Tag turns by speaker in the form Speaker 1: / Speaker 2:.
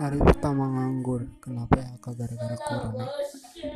Speaker 1: Hari pertama nganggur, kena PHK gara-gara Corona